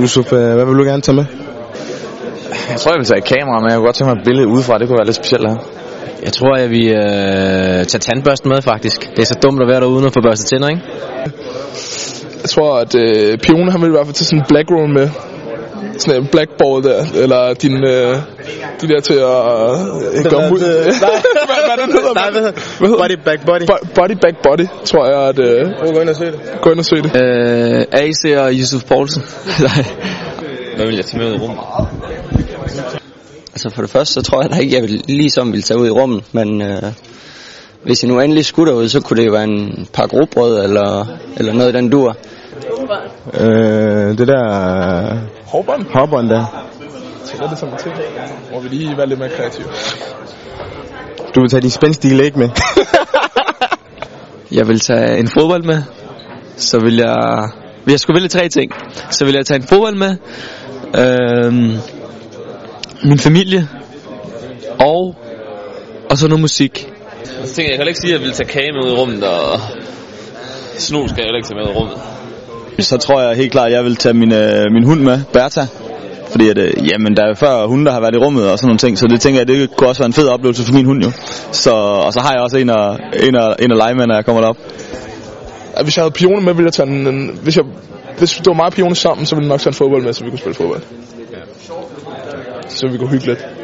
Yusuf, øh, hvad vil du gerne tage med? Jeg tror, jeg vil tage et kamera med. Jeg kunne godt tænke mig et billede udefra. Det kunne være lidt specielt her. Jeg tror, jeg vil øh, tage tandbørsten med, faktisk. Det er så dumt at være derude og få børstet tænder, ikke? Jeg tror, at øh, Pione, han ville i hvert fald tage sådan en black roll med. Sådan en black ball der, eller din, øh, de der til at øh, gøre der mod. til- Nej, hvad, hvad den hedder? Nej, hvad hedder Hvad hedder Body back body. Bo- Body back body, tror jeg, at øh, Prøv at gå ind og se det. gå ind og se det. Øh, AC og Yusuf Poulsen. Hvad vil jeg tage med ud i rummet? Altså for det første, så tror jeg da ikke, jeg vil, ligesom ville tage ud i rummet, men øh, hvis jeg nu endelig skulle derud, så kunne det jo være en par grobrød eller, eller noget i den dur. Øh, det der Hårbånd, hopperen der. tæller det som en ting. Må vi lige være lidt mere kreative. Du vil tage din spændstil ikke med. Jeg vil tage en fodbold med. Så vil jeg... Hvis jeg skulle vælge tre ting, så vil jeg tage en fodbold med. Øhm, min familie. Og... Og så noget musik. Så tænker jeg, jeg kan heller ikke sige, at jeg vil tage kage med ud i rummet, og sno skal jeg heller ikke tage med ud i rummet. Så tror jeg helt klart, at jeg vil tage min, øh, min hund med, Bertha. Fordi at, øh, jamen, der er jo før hunde, der har været i rummet og sådan nogle ting, så det tænker jeg, det kunne også være en fed oplevelse for min hund jo. Så, og så har jeg også en at, en at, en at lege med, når jeg kommer derop. At hvis jeg havde Pione med, ville jeg tage en, en hvis, jeg, hvis det var mig og Pione sammen, så ville jeg nok tage en fodbold med, så vi kunne spille fodbold. Så vi kunne hygge lidt.